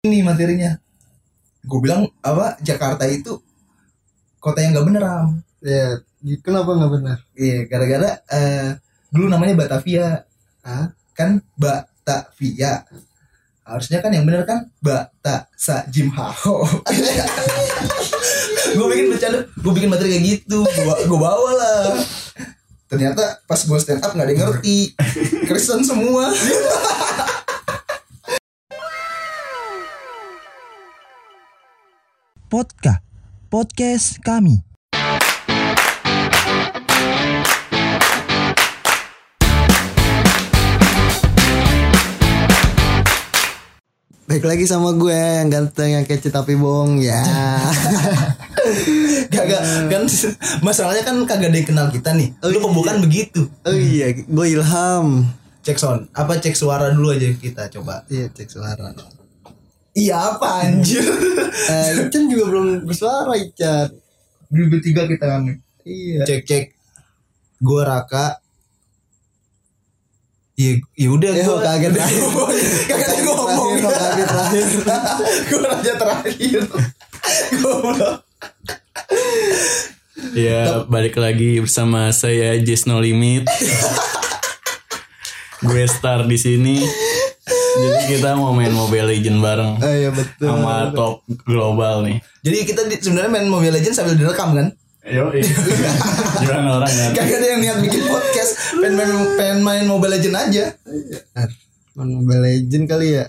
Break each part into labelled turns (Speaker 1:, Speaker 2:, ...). Speaker 1: ini materinya gue bilang apa Jakarta itu kota yang gak bener Am.
Speaker 2: Ya, di- kenapa nggak benar?
Speaker 1: Iya, gara-gara eh, dulu namanya Batavia.
Speaker 2: Hah?
Speaker 1: Kan Batavia. Harusnya kan yang bener kan Batasa Jim Hao. gue bikin bercanda, gue bikin materi kayak gitu, gue bawa lah. Ternyata pas gue stand up nggak ada yang ngerti, Kristen semua.
Speaker 3: Podcast podcast kami.
Speaker 2: Baik lagi sama gue yang ganteng yang kece tapi bohong ya.
Speaker 1: Kagak kan masalahnya kan kagak ada yang kenal kita nih. Lu pembukaan begitu.
Speaker 2: oh iya, gue Ilham.
Speaker 1: Cek sound, apa cek suara dulu aja kita coba.
Speaker 2: Iya, cek suara.
Speaker 1: Iya apa anjir?
Speaker 2: Eh, Ican juga belum bersuara, Ican.
Speaker 1: Dulu bertiga kita kami.
Speaker 2: Iya.
Speaker 1: cek cek gue raka Iya, ya udah
Speaker 2: Eh,
Speaker 1: gue
Speaker 2: kaget.
Speaker 1: kaget gue ngomong.
Speaker 2: Terakhir, terakhir, terakhir.
Speaker 1: gue raja terakhir. Gue
Speaker 4: Ya, balik lagi bersama saya Jess No Limit. gue star di sini. Jadi kita mau main Mobile Legend bareng
Speaker 2: Oh iya, betul.
Speaker 4: sama top global nih.
Speaker 1: Jadi kita di- sebenarnya main Mobile Legends sambil direkam kan?
Speaker 4: Yo, iya. gimana orang kan?
Speaker 1: Kagak ada yang niat bikin podcast, pengen main, pengen main Mobile Legends aja.
Speaker 2: Iya.
Speaker 1: Nah,
Speaker 2: Main Mobile Legend kali ya.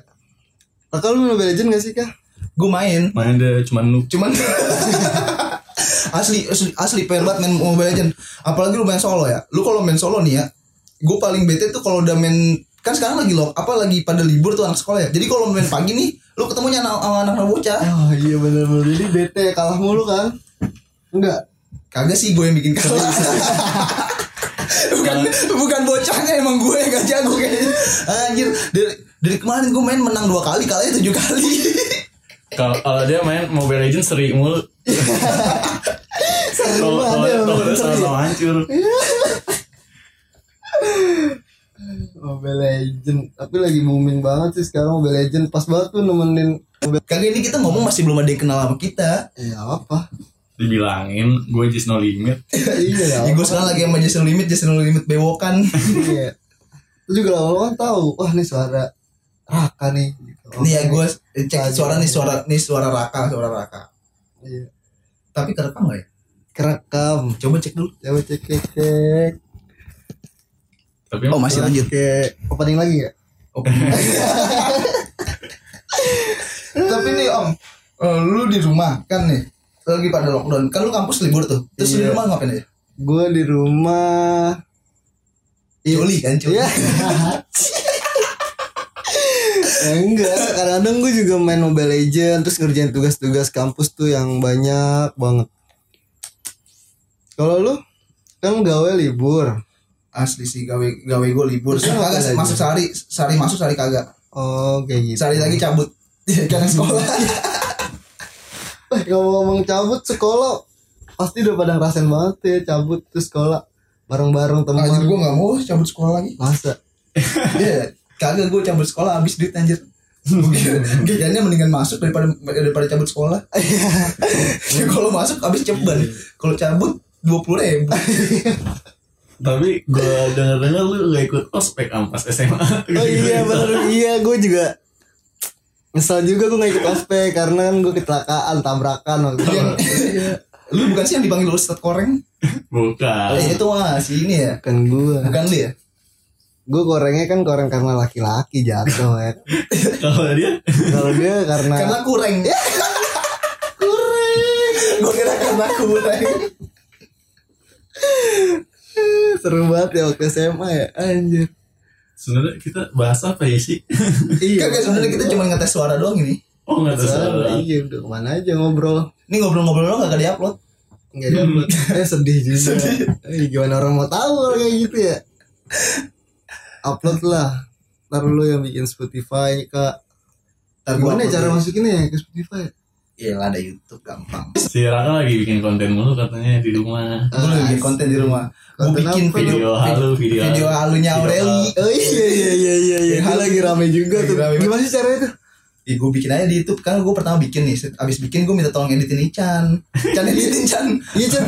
Speaker 2: Lah, kalau lu Mobile Legend gak sih, Kak?
Speaker 1: Gue main,
Speaker 4: Main deh cuman lu.
Speaker 1: cuman asli asli asli pengen banget main Mobile Legends. Apalagi lu main solo ya. Lu kalau main solo nih ya, gue paling bete tuh kalau udah main kan sekarang lagi lock apa lagi pada libur tuh anak sekolah ya. Jadi kalau main pagi nih, lu ketemunya anak- sama anak-anak bocah.
Speaker 2: Oh iya benar-benar jadi bete kalah mulu kan? Enggak.
Speaker 1: Kagak sih gue yang bikin kalah. bukan bukan bocahnya emang gue yang gak jago kayaknya. Anjir, dari dari kemarin gue main menang dua kali, kalahnya tujuh kali.
Speaker 4: Kalau kalau dia main Mobile Legend seri mulu. Kalau kalau-
Speaker 2: banget,
Speaker 4: kalau udah
Speaker 2: bener.
Speaker 4: sama-sama hancur.
Speaker 2: Mobile Legend tapi lagi booming banget sih sekarang Mobile Legend pas banget tuh nemenin Mobile
Speaker 1: Kagak ini kita ngomong masih belum ada yang kenal sama kita.
Speaker 2: ya apa
Speaker 4: Dibilangin gue Jess No Limit.
Speaker 2: iya ya
Speaker 1: Ya, gue sekarang lagi sama Jason Limit, Jason Limit bewokan.
Speaker 2: iya itu juga lama-lama kan tahu wah nih suara Raka nih gitu.
Speaker 1: Nih ya gue cek suara nih suara nih suara Raka, suara Raka.
Speaker 2: iya.
Speaker 1: Tapi kerekam nggak ya?
Speaker 2: kerekam
Speaker 1: Coba cek dulu.
Speaker 2: coba Ya, cek cek cek
Speaker 4: Tapi
Speaker 1: Oh, masih lanjut.
Speaker 2: Oke, opening lagi ya
Speaker 1: Tapi nih Om, eh, lu di rumah kan nih lagi pada lockdown. Kan lu kampus libur tuh. Terus lu di
Speaker 2: Iya.
Speaker 1: rumah ngapain aja?
Speaker 2: gue di rumah
Speaker 1: Coli kan, coli.
Speaker 2: Iya. ya enggak, kadang-kadang gue juga main Mobile Legend terus ngerjain tugas-tugas kampus tuh yang banyak banget. Kalau lu kan gawe libur.
Speaker 1: asli sih gawe gawe gue libur
Speaker 2: Terus
Speaker 1: Sekarang kagak
Speaker 2: ngapain
Speaker 1: masuk sehari sehari masuk sehari kagak
Speaker 2: Oh, kayak gitu.
Speaker 1: sehari lagi cabut karena sekolah
Speaker 2: Eh, ngomong-ngomong cabut sekolah pasti udah pada ngerasain banget ya cabut ke sekolah bareng-bareng
Speaker 1: anjir gue
Speaker 2: teman.
Speaker 1: nggak mau cabut sekolah lagi
Speaker 2: Masa?
Speaker 1: Iya, kagak gue cabut sekolah habis duit anjir Kayaknya mendingan masuk daripada daripada cabut sekolah. kalau masuk habis ceban. Kalau cabut dua puluh ribu.
Speaker 4: tapi gue denger-denger lu gak ikut ospek ampas SMA.
Speaker 2: Oh
Speaker 4: Gitu.
Speaker 2: iya bener iya gue juga Nyesel juga gue gak ikut ospek karena kan gue kecelakaan tabrakan waktu itu.
Speaker 1: lu bukan sih yang dipanggil Ustad Koreng?
Speaker 4: Bukan.
Speaker 1: Eh, itu mah si ini ya.
Speaker 2: Bukan gue
Speaker 1: Bukan lu ya?
Speaker 2: Gue gorengnya kan goreng karena laki-laki jatuh ya
Speaker 4: Kalau dia
Speaker 2: Kalau dia karena,
Speaker 1: Karena kureng. kureng. Gue kira karena kureng.
Speaker 2: Seru banget ya waktu SMA ya Anjir
Speaker 4: sebenarnya kita bahas apa ya sih?
Speaker 2: Iya
Speaker 1: Kagak sebenarnya kita cuma ngetes suara doang ini.
Speaker 4: Oh nggak ada
Speaker 2: Salah,
Speaker 4: salah.
Speaker 2: Iya udah kemana aja ngobrol
Speaker 1: Ini ngobrol-ngobrol doang kagak diupload.
Speaker 2: Nggak ada Eh sedih juga Eh, Gimana orang mau tahu kalau kayak gitu ya Upload lah Ntar lu yang bikin Spotify kak
Speaker 1: Ntar gua
Speaker 2: Gimana
Speaker 1: upload
Speaker 2: cara
Speaker 1: dulu.
Speaker 2: masukinnya ya ke Spotify
Speaker 1: Iya lah ada YouTube gampang.
Speaker 4: Si Raka lagi bikin konten mulu katanya di rumah.
Speaker 1: Gue lagi bikin konten di rumah. Gue
Speaker 2: Konten
Speaker 1: bikin
Speaker 2: apa?
Speaker 1: video
Speaker 4: Video halu, video,
Speaker 1: video halunya
Speaker 4: Iya. Video
Speaker 1: Aureli. Oh, iya.
Speaker 2: Oh iya iya iya iya iya Itu lagi rame
Speaker 1: Lagi
Speaker 2: juga tuh
Speaker 1: rame banget.
Speaker 2: Gimana sih caranya tuh
Speaker 1: Ya, gue bikin aja di YouTube kan gue pertama bikin nih set- abis bikin gue minta tolong editin nih Chan Chan editin Chan
Speaker 2: Iya Chan.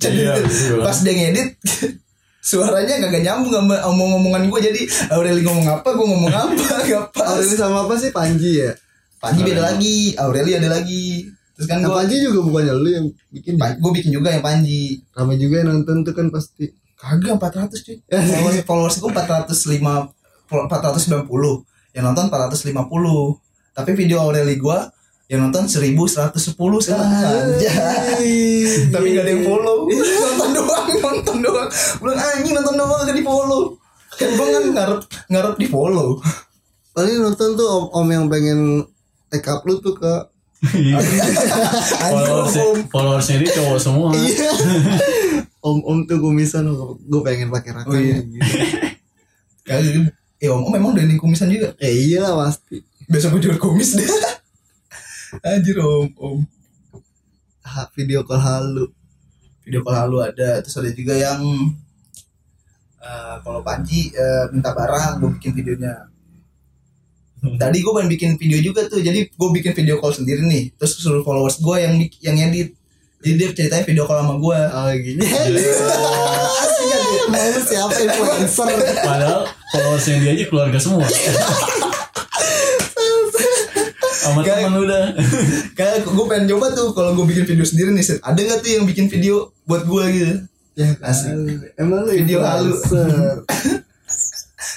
Speaker 1: Chan
Speaker 4: Iya,
Speaker 1: editin.
Speaker 4: betul.
Speaker 1: pas dia ngedit suaranya kagak nyambung sama omong-omongan gue jadi Aureli ngomong apa gue ngomong apa gak pas
Speaker 2: Aureli sama apa sih Panji ya?
Speaker 1: Panji beda lagi Aureli ada lagi terus kan
Speaker 2: Nah,
Speaker 1: gue
Speaker 2: Panji juga bukannya lu yang bikin ya?
Speaker 1: gue bikin juga yang Panji
Speaker 2: Ramai juga yang nonton tuh kan pasti.
Speaker 1: Kagak 400 cuy Followers, followers gue 405 490 Yang nonton 450 Tapi video Aureli gue Yang nonton 1110 sekarang Anjay Tapi gak ada yang follow Nonton doang Nonton doang Belum anjing nonton doang gak di follow Kan gue kan ngarep Ngarep di follow
Speaker 2: Paling nonton tuh om, om yang pengen take up lu tuh ke
Speaker 1: Anjing gua
Speaker 4: followers
Speaker 1: follow
Speaker 4: Iya. followersnya dia cowok semua
Speaker 2: Iya. om-om tuh kumisan gue pengen pakai rakan
Speaker 1: Oh, iya.
Speaker 2: gitu.
Speaker 1: Kagak Eh om, om emang udah kumisan juga
Speaker 2: Eh iyalah pasti.
Speaker 1: Besok gue jual kumis deh Anjir om Om
Speaker 2: Ha, video call halu.
Speaker 1: video call halu ada terus ada juga yang eh, kalau Panji eh, minta barang gue bikin videonya
Speaker 2: Hmm.
Speaker 1: tadi gue pengen bikin video juga tuh jadi gue bikin video call sendiri nih terus suruh followers gue yang bik- yang edit jadi dia ceritanya video call sama gue
Speaker 2: Oh gini.
Speaker 1: Iya.
Speaker 2: kan? Mau lu siapa influencer?
Speaker 4: Padahal followersnya dia aja keluarga semua. Sama teman udah.
Speaker 1: kayak gue pengen coba tuh kalau gue bikin video sendiri nih Seth. ada nggak tuh yang bikin video buat gue gitu
Speaker 2: Ya
Speaker 1: Asik.
Speaker 2: kali. Emang lu
Speaker 1: Video halu.
Speaker 2: influencer?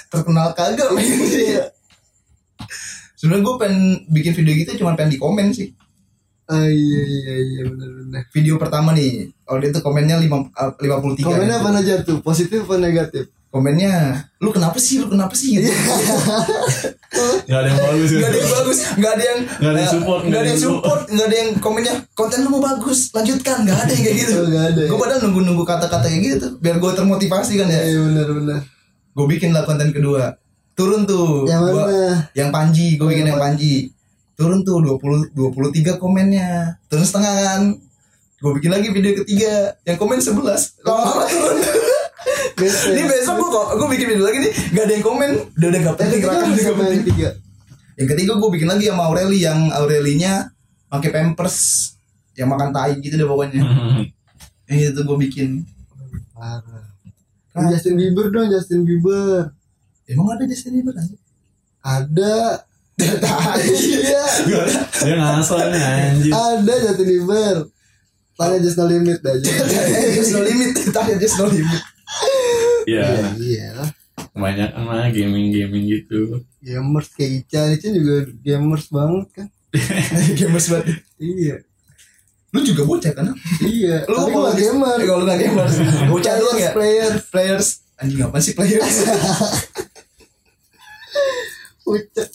Speaker 1: terkenal kagak main dia sebenarnya gue pengen bikin video gitu cuma pengen di komen sih
Speaker 2: Ah iya iya iya benar-benar.
Speaker 1: video pertama nih kalau dia tuh komennya lima eh, lima puluh tiga kan?
Speaker 2: Komennya apa aja tuh? Positif apa negatif?
Speaker 1: komennya lu kenapa sih lu kenapa sih gitu
Speaker 4: Gak ada yang bagus.
Speaker 1: nggak ada yang bagus nggak ada yang eh,
Speaker 4: Nggak ada yang support,
Speaker 1: nggak ada yang support nggak ada yang komennya konten lu mau bagus lanjutkan nggak ada yang kayak gitu
Speaker 2: Oh, nggak ada ya?
Speaker 1: gue padahal nunggu nunggu kata kata kayak gitu tuh biar gue termotivasi kan ya
Speaker 2: Iya benar-benar.
Speaker 1: gue bikin lah konten kedua turun tuh
Speaker 2: Yang
Speaker 1: Gua-
Speaker 2: mana?
Speaker 1: yang Panji gue bikin yang Panji turun tuh 20 23 komennya turun setengah kan gue bikin lagi video ketiga yang komen 11 lama-lama turun
Speaker 2: Best
Speaker 1: Ini besok gue gue bikin video lagi nih, gak ada yang komen, udah udah gak
Speaker 2: Yang
Speaker 1: penting
Speaker 2: ketiga
Speaker 1: gerakan
Speaker 2: apa
Speaker 1: udah gak
Speaker 2: sama
Speaker 1: penting.
Speaker 2: yang ketiga?
Speaker 1: Yang ketiga gue bikin lagi sama Aureli yang Aurelinya pakai pampers yang makan tai gitu deh pokoknya. Yang itu gue bikin.
Speaker 2: Parah. Yang Justin Bieber dong Justin Bieber.
Speaker 1: Emang ada di sini Eh, berarti?
Speaker 2: Ada. Iya.
Speaker 4: Dia ngasal nih anjir.
Speaker 1: Oh,
Speaker 2: Ada Justin Bieber. Tanya Just No Limit Eh, aja.
Speaker 1: There's no limit, tanya there's no limit.
Speaker 4: Ya,
Speaker 2: Iya lah.
Speaker 4: kebanyakan lah gaming-gaming gitu.
Speaker 2: Gamers kayak Ica, Ica juga gamers banget kan.
Speaker 1: Gamers banget.
Speaker 2: Iya.
Speaker 1: Lu juga bocah kan?
Speaker 2: Iya.
Speaker 1: Lu
Speaker 2: Tapi
Speaker 1: kalau
Speaker 2: gua gak gamer.
Speaker 1: Kalau lu gak gamer, bocah doang ya.
Speaker 2: Player.
Speaker 1: Players, anjing apa sih players?
Speaker 2: Ucek.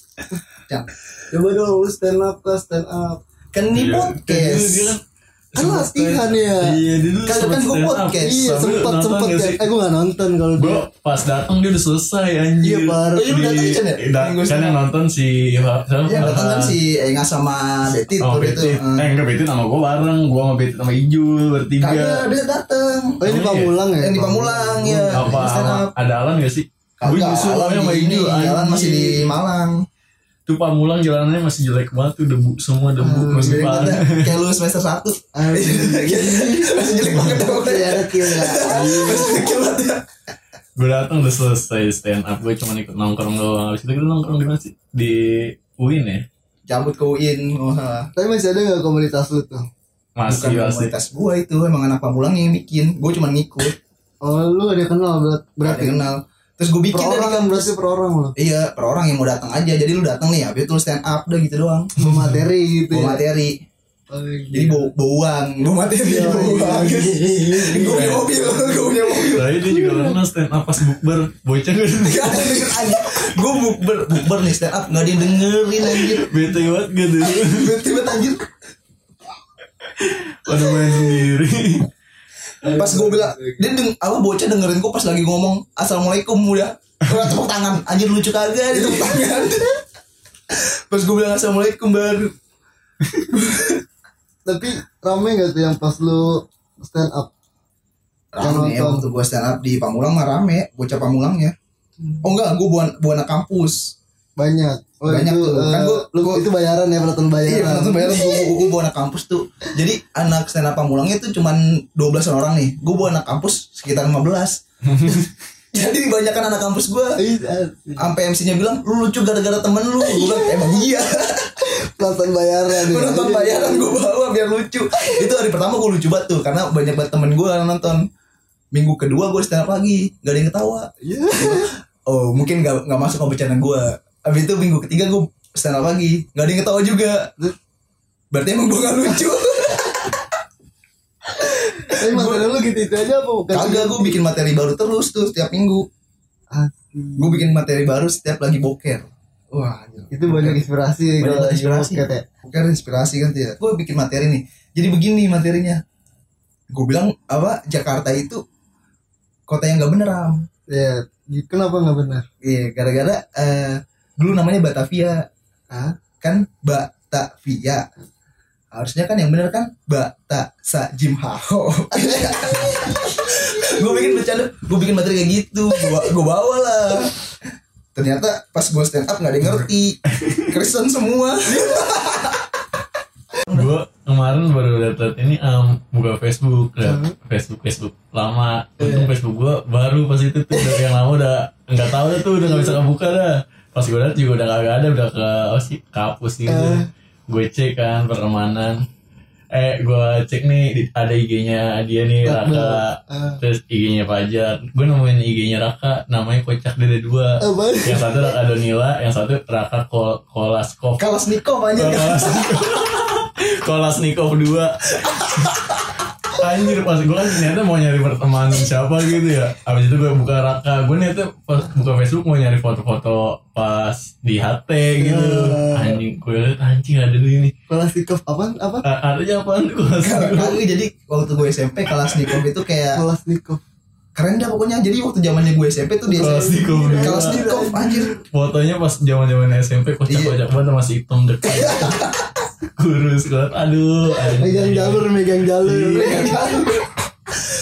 Speaker 1: Cang.
Speaker 2: Coba dong lu stand up lah stand up.
Speaker 1: Kan ini
Speaker 4: Iya.
Speaker 1: podcast.
Speaker 4: Dia kan-
Speaker 2: Kan latihan ya.
Speaker 4: Iya, dia dulu
Speaker 1: Kagak kan
Speaker 4: sempet
Speaker 1: gua
Speaker 4: stand up.
Speaker 1: podcast.
Speaker 2: Iya
Speaker 4: Tapi lu
Speaker 2: sempet
Speaker 4: Eh, nonton
Speaker 2: sempet
Speaker 4: nggak
Speaker 2: ya.
Speaker 4: sih?
Speaker 2: Eh gua gak nonton kalau
Speaker 4: Gue
Speaker 2: dia.
Speaker 4: pas datang dia udah selesai anjir.
Speaker 2: Iya, parah.
Speaker 4: Di-
Speaker 1: Iya, lu datang Chan, ya?
Speaker 4: Eh, da-
Speaker 1: Minggu
Speaker 4: Kan yang nonton si siapa?
Speaker 1: Yang datang kan si Enga sama Betty gitu.
Speaker 4: Oh,
Speaker 1: tur itu. Hmm.
Speaker 4: Betit. Eh, enggak Betit sama gue bareng. Gue sama Betit sama Ijul bertiga.
Speaker 1: Kagak dia datang.
Speaker 2: Oh ini
Speaker 4: Emang iya?
Speaker 2: pamulang ya?
Speaker 1: Yang di Pamulang ya.
Speaker 4: apa
Speaker 1: yang stand up.
Speaker 4: ada Alan gak sih? Gue
Speaker 1: Kagak,
Speaker 4: nyusul
Speaker 1: Alan
Speaker 4: pokoknya sama
Speaker 1: di-
Speaker 4: Ijul
Speaker 1: di- Jalan masih di Malang.
Speaker 4: Tuh Pamulang jalanannya masih jelek banget tuh debu semua debu masih
Speaker 1: Hmm, Jadi kata,
Speaker 4: parah.
Speaker 1: kayak lu semester 1. Iya, Masih jelek banget tau
Speaker 2: Oke, ada kill ya. nggak?
Speaker 1: Masih kecil banget ya.
Speaker 4: Gue datang udah selesai stand up gue cuma ikut nongkrong doang. Habis itu kita nongkrong di mana sih? Di UIN ya?
Speaker 1: Cabut ke UIN.
Speaker 2: Oh,
Speaker 1: Wah.
Speaker 2: Tapi masih ada nggak komunitas lu tuh?
Speaker 1: Bukan
Speaker 4: Masih masih.
Speaker 1: komunitas gua itu emang anak Pamulang yang bikin. Gua cuma ngikut.
Speaker 2: Oh lu ada kenal berat-
Speaker 1: Gak ada
Speaker 2: berarti?
Speaker 1: yang kenal. Terus gua
Speaker 2: Per
Speaker 1: bikin dari
Speaker 2: orang kan berarti per orang lo.
Speaker 1: Iya, per orang yang mau datang aja. Jadi lu datang nih, habis itu lu stand up udah gitu doang.
Speaker 2: Pemateri
Speaker 1: Bawa
Speaker 2: gitu ya.
Speaker 1: materi.
Speaker 2: Oh,
Speaker 1: Jadi
Speaker 2: iya.
Speaker 1: bawa bawa uang, bawa materi,
Speaker 2: Iya,
Speaker 1: bawa
Speaker 2: iya,
Speaker 1: uang.
Speaker 2: iya.
Speaker 1: Gua punya mobil, gua punya mobil.
Speaker 4: Tapi dia Nah, juga pernah stand up pas bukber bocah gue
Speaker 1: Gak ada yang denger aja Gue bukber Bukber nih stand up Gak ada yang dengerin anjir
Speaker 4: bete banget gak tuh
Speaker 1: Tiba-tiba anjir
Speaker 4: pada main sendiri
Speaker 1: Pas gue bilang Dia deng Apa bocah dengerin gue pas lagi ngomong Assalamualaikum udah Udah tepuk tangan Anjir lucu kagak Dia tepuk tangan Pas gue bilang Assalamualaikum baru
Speaker 2: Tapi rame nggak tuh yang pas lu stand up?
Speaker 1: Rame ya
Speaker 2: Yang nonton.
Speaker 1: waktu gue stand up di ya. Hmm. Pamulang mah rame Bocah Pamulangnya Oh enggak gue buan, buana kampus
Speaker 2: Banyak. Oh,
Speaker 1: Banyak
Speaker 2: itu,
Speaker 1: tuh. Kan
Speaker 2: eh,
Speaker 1: gua-
Speaker 2: lu-
Speaker 1: gua-
Speaker 2: itu bayaran ya pelatihan bayaran.
Speaker 1: Iya, langsung bayar gue gue bawa anak kampus tuh. Jadi anak stand up pamulangnya tuh cuman 12 orang nih. Gue bawa anak kampus sekitar 15. Jadi banyakkan anak kampus gue.
Speaker 2: Iya,
Speaker 1: Sampai MC-nya bilang, "Lu lucu gara-gara temen lu." Gue bilang, "Emang iya."
Speaker 2: pelatihan bayaran.
Speaker 1: Gue nonton bayaran gue bawa biar lucu. Itu hari pertama gue lucu banget tuh karena banyak banget temen gue yang nonton. Minggu kedua gue stand up lagi, gak ada yang ketawa.
Speaker 2: Iya.
Speaker 1: Oh, mungkin gak, gak masuk ke bercanda gue. Habis itu minggu ketiga gue stand up lagi, gak ada yang ketawa juga. Berarti emang gue gak lucu.
Speaker 2: Tapi materi lu gitu-gitu aja apa? bukan?
Speaker 1: Kagak gue bikin materi baru terus tuh setiap minggu.
Speaker 2: Asli.
Speaker 1: Gue bikin materi baru setiap lagi boker. Wah, anjir.
Speaker 2: Itu banyak inspirasi
Speaker 1: Banyak
Speaker 2: kalau
Speaker 1: inspirasi.
Speaker 2: podcast ya.
Speaker 1: boker inspirasi kan tidak. Gue bikin materi nih. Jadi begini materinya. Gue bilang apa Jakarta itu kota yang gak bener Am.
Speaker 2: Ya, gitu. kenapa nggak benar?
Speaker 1: Iya, gara-gara eh, dulu namanya Batavia.
Speaker 2: Hah?
Speaker 1: Kan Batavia. Harusnya kan yang bener kan Bata Sa Jim Haho. gue bikin bercanda, gue bikin materi kayak gitu, gue bawa lah. Ternyata pas gue stand up nggak ada yang ngerti, Kristen semua.
Speaker 4: gue kemarin baru lihat ini em, buka Facebook lihat Facebook Facebook lama untung Facebook gue baru pas itu tuh udah yang lama udah nggak tahu dah tuh udah nggak bisa kebuka dah pas gue lihat juga udah kagak ada udah ke oh sih kapus gitu gue cek kan pertemanan eh gue cek nih di- ada IG-nya dia nih Raka
Speaker 2: Ah.
Speaker 4: terus IG-nya Fajar gue nemuin IG-nya Raka namanya kocak dede dua
Speaker 2: Apa?
Speaker 4: yang satu Raka Donila yang satu Raka Kol Kolaskov
Speaker 1: Kalas Niko banyak kan.
Speaker 4: Kolas Nikov 2 Anjir pas gue kan ternyata mau nyari pertemanan siapa gitu ya Abis itu gue buka Raka Gue niatnya pas buka Facebook mau nyari foto-foto pas di HT gitu Anjing gue liat anjing ada di ini
Speaker 2: Kelas tikov apa? Apa?
Speaker 4: A- Artinya apaan tuh Kolas Nikov
Speaker 1: Kagak, jadi waktu gue SMP Kalas Niko itu kayak
Speaker 2: Kelas tikov.
Speaker 1: keren dah pokoknya. Jadi waktu zamannya gue SMP tuh dia
Speaker 4: Kalas Niko berdua.
Speaker 1: Kalas Niko anjir.
Speaker 4: Fotonya pas zaman zaman SMP Kocak-kocak banget masih hitam dekat Kurus banget Aduh
Speaker 2: Megang
Speaker 1: Iya.
Speaker 2: jalur, megang jalur.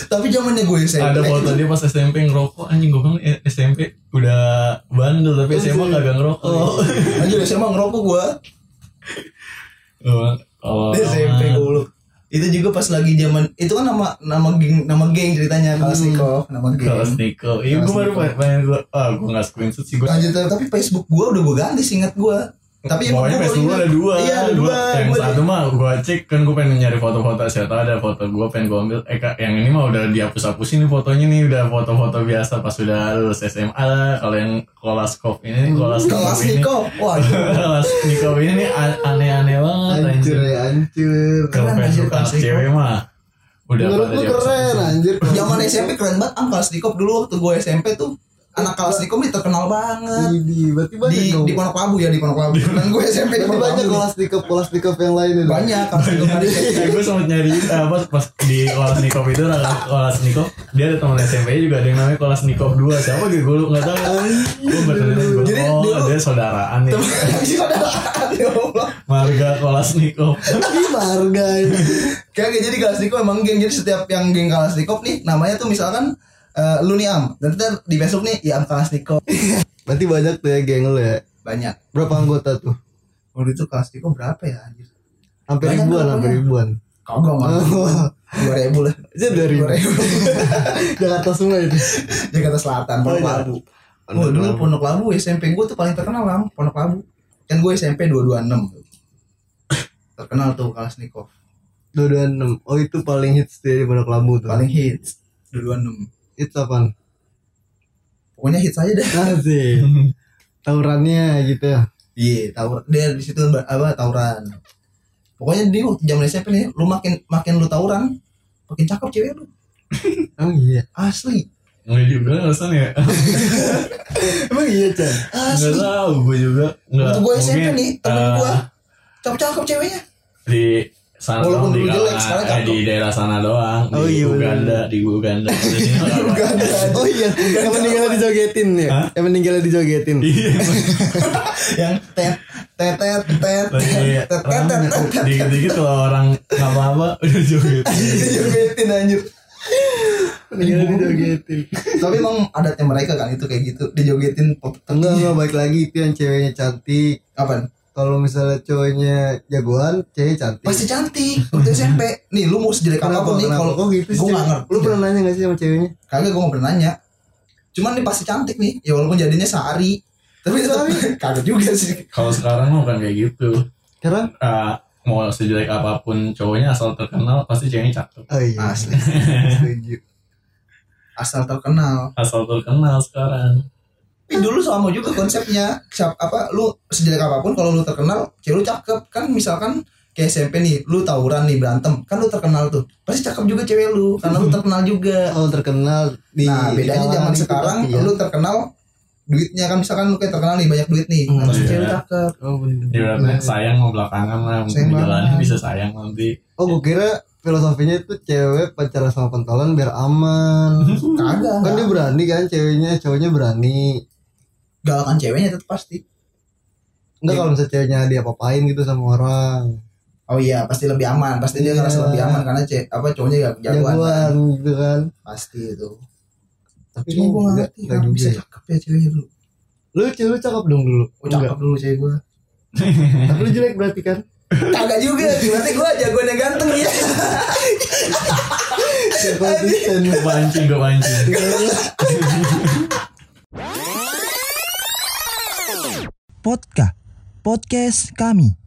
Speaker 1: Tapi zamannya gue SMP.
Speaker 4: Iya. ada foto dia pas SMP ngerokok anjing gue bilang eh, SMP udah bandel tapi SMA
Speaker 1: Oh.
Speaker 4: kagak ngerokok
Speaker 1: Anjir SMA ngerokok gua.
Speaker 4: Gua bilang, oh,
Speaker 1: Di SMP dulu. Itu juga pas lagi zaman itu kan nama nama geng nama geng ceritanya Kalashnikov, nama
Speaker 4: kelas
Speaker 1: geng.
Speaker 4: Niko iya gue baru main main gua ah gue nggak screenshot sih gue
Speaker 1: Lanjut tapi Facebook gua udah gua ganti seingat gua. Tapi emang
Speaker 4: Pokoknya
Speaker 1: gua
Speaker 4: Facebook
Speaker 1: baru
Speaker 4: ada
Speaker 1: ingat.
Speaker 4: dua,
Speaker 1: Iya, ada
Speaker 4: Gua-
Speaker 1: dua.
Speaker 4: yang
Speaker 1: Gua-
Speaker 4: satu mah gue cek kan gue pengen nyari foto-foto siapa tahu ada foto gue pengen gue ambil. Eh Kak, yang ini mah udah dihapus-hapusin nih fotonya nih udah foto-foto biasa pas sudah lulus SMA lah. Kalau yang kolaskop ini, kolaskop ini,
Speaker 1: Kalashnikov. Waduh.
Speaker 4: kelas Niko ini nih an- aneh-aneh banget.
Speaker 2: Hancur
Speaker 4: anjir.
Speaker 2: ya, hancur.
Speaker 4: Kalau
Speaker 1: Keren, ya.
Speaker 4: Facebook
Speaker 1: anjir,
Speaker 4: anak
Speaker 1: Kak
Speaker 4: cewek mah udah
Speaker 2: Menurut lu
Speaker 4: pada
Speaker 2: keren
Speaker 4: dewasa.
Speaker 2: anjir.
Speaker 1: Zaman SMP keren banget am Kalashnikov dulu waktu gua SMP tuh anak Kalashnikov ini terkenal banget.
Speaker 2: Ini berarti banyak
Speaker 1: Di
Speaker 2: dong.
Speaker 1: di Pondok Labu ya di Pondok Labu. Dan gue SMP di
Speaker 2: Berarti
Speaker 1: Pondok
Speaker 2: banyak
Speaker 1: Labu.
Speaker 2: kelas tikov, kelas tikov yang lain ini.
Speaker 1: Banyak Kalashnikov ada kayak
Speaker 4: Ya, gue sempat nyari eh, apa pas di kolas Nikop itu Raka kolas Nikop dia ada teman SMP juga ada yang namanya kolas Nikop 2 siapa gitu gue lu- nggak tahu gue bertanya gue
Speaker 1: Oh, iya. Jadi
Speaker 4: oh
Speaker 1: dulu-
Speaker 4: dia saudaraan nih
Speaker 1: saudaraan ya Allah.
Speaker 4: marga kolas Nikop
Speaker 2: Tapi marga ini.
Speaker 1: Kagak jadi Kalashnikov emang geng jadi setiap yang geng Kalashnikov nih namanya tuh misalkan eh, lu nih Am dan ntar di besok nih ya Am Kalashnikov
Speaker 2: Berarti banyak tuh ya geng lu ya.
Speaker 1: banyak
Speaker 2: Berapa anggota tuh?
Speaker 1: waktu itu Kalashnikov berapa ya anjir
Speaker 2: Hampir
Speaker 1: Banyak
Speaker 2: ribuan,
Speaker 1: berapa
Speaker 2: hampir
Speaker 1: ya?
Speaker 2: ribuan.
Speaker 1: kagak mah dua ribu lah
Speaker 2: Aja dari
Speaker 1: dua ribu
Speaker 2: Jakarta semua
Speaker 1: ya?
Speaker 2: itu.
Speaker 1: Jakarta Selatan Pondok
Speaker 2: Oh, iya.
Speaker 1: Labu Oh dulu Pondok Labu SMP gue tuh paling terkenal Am Pondok Labu kan gue SMP 226 terkenal tuh Kalashnikov
Speaker 2: Dua dua enam. Oh itu paling hits dia di Pondok Labu tuh.
Speaker 1: paling hits 226
Speaker 2: hits apaan?
Speaker 1: pokoknya hits aja deh
Speaker 2: Asik. Taurannya gitu ya.
Speaker 1: Iya, tawur. Dia di situ ba- apa tawuran. Pokoknya dia waktu zaman SMP nih, lu makin makin lu tawuran, makin cakep cewek lu.
Speaker 2: Emang iya.
Speaker 1: Asli.
Speaker 4: nggak juga alasan ya
Speaker 2: Emang iya, Chan.
Speaker 4: nggak
Speaker 1: Asli.
Speaker 4: tahu gue juga nggak
Speaker 1: Waktu gue SMP
Speaker 4: mungkin,
Speaker 1: nih, temen
Speaker 4: eh,
Speaker 1: gue cakep-cakep ceweknya.
Speaker 4: di sana
Speaker 1: Walaupun
Speaker 4: doang di
Speaker 1: dulu jelek,
Speaker 4: kalangan-
Speaker 1: sekarang
Speaker 4: eh,
Speaker 1: cakep.
Speaker 4: di daerah sana doang
Speaker 2: Oh,
Speaker 4: di
Speaker 2: iya,
Speaker 4: Uganda di Uganda Di sini nggak ada.
Speaker 2: Oh iya, yang meninggalnya dijogetin ya. Yang meninggalnya dijogetin.
Speaker 4: Iya,
Speaker 1: Yang tet tet tet tet
Speaker 4: iya.
Speaker 1: tet tet tet tet tet. gitu. Iya,
Speaker 4: dikit-dikit kalau orang nggak apa-apa udah joget
Speaker 1: Dijogetin anjir.
Speaker 2: Iya dijogetin.
Speaker 1: Tapi emang adatnya mereka kan itu kayak gitu dijogetin pop
Speaker 2: Enggak enggak baik lagi itu yang ceweknya cantik.
Speaker 1: apa?
Speaker 2: Kalau misalnya cowoknya jagoan, cewek cantik.
Speaker 1: Pasti cantik waktu SMP. Nih lu mau sejelek
Speaker 2: Kenapa,
Speaker 1: apapun nih
Speaker 2: kenapa?
Speaker 1: kalau
Speaker 2: Kok gitu sih?
Speaker 1: gue nggak ngerti.
Speaker 2: Lu pernah nanya gak sih sama ceweknya?
Speaker 1: Kagak gue mau pernah nanya. Cuman nih pasti cantik nih. Ya walaupun jadinya sehari. Tapi tetap kagak juga sih.
Speaker 4: Kalau sekarang mah bukan kayak gitu.
Speaker 2: Karena
Speaker 4: Ah, mau sejelek apapun cowoknya asal terkenal pasti ceweknya cakep.
Speaker 2: Oh iya.
Speaker 1: Asli.
Speaker 2: Setuju.
Speaker 1: Asal terkenal.
Speaker 4: Asal terkenal sekarang.
Speaker 1: Tapi dulu sama juga konsepnya. Siap- apa lu sejelek apapun kalau lu terkenal, cewek lu cakep kan misalkan kayak SMP nih, lu tawuran nih berantem, kan lu terkenal tuh. Pasti cakep juga cewek lu karena lu terkenal juga.
Speaker 2: Kalau terkenal di
Speaker 1: Nah
Speaker 2: di
Speaker 1: bedanya
Speaker 2: kalangan
Speaker 1: zaman
Speaker 2: itu
Speaker 1: sekarang
Speaker 2: pasti ya.
Speaker 1: lu terkenal duitnya kan misalkan lu kayak terkenal nih banyak duit nih
Speaker 2: Hmm,
Speaker 1: nah, terus
Speaker 4: iya.
Speaker 1: cewek cakep
Speaker 2: Oh bener.
Speaker 4: Ibaratnya sayang mau belakangan
Speaker 1: Iya.
Speaker 4: lah.
Speaker 1: Sayang
Speaker 4: Mungkin di jalannya
Speaker 1: banget.
Speaker 4: bisa sayang nanti.
Speaker 2: Oh gue kira filosofinya itu cewek pacaran sama pentolan biar aman.
Speaker 1: kagak
Speaker 2: kan dia berani kan ceweknya, cowoknya berani.
Speaker 1: galakan ceweknya tetap pasti
Speaker 2: Enggak
Speaker 1: Iya.
Speaker 2: kalau misalnya ceweknya dia apa-apain gitu sama orang.
Speaker 1: oh iya pasti lebih aman pasti dia
Speaker 2: Iya.
Speaker 1: ngerasa lebih aman karena cewek apa cowoknya gak jagoan
Speaker 2: Jagoan Ya gitu kan.
Speaker 1: pasti itu
Speaker 2: Tapi
Speaker 1: cuma gue gak
Speaker 2: enggak,
Speaker 1: ngerti
Speaker 2: enggak
Speaker 1: kenapa
Speaker 2: juga
Speaker 1: bisa
Speaker 2: ya.
Speaker 1: cakep ya ceweknya dulu
Speaker 2: Lu cewek lu cakep dong dulu.
Speaker 1: oh, cakep dulu cewek gue
Speaker 2: Tapi lu jelek berarti kan.
Speaker 1: kagak juga berarti gue jagoan yang ganteng ya Iya,
Speaker 2: Gak konsisten.
Speaker 4: Gue pancing, gue pancing.
Speaker 3: Podcast Podcast kami.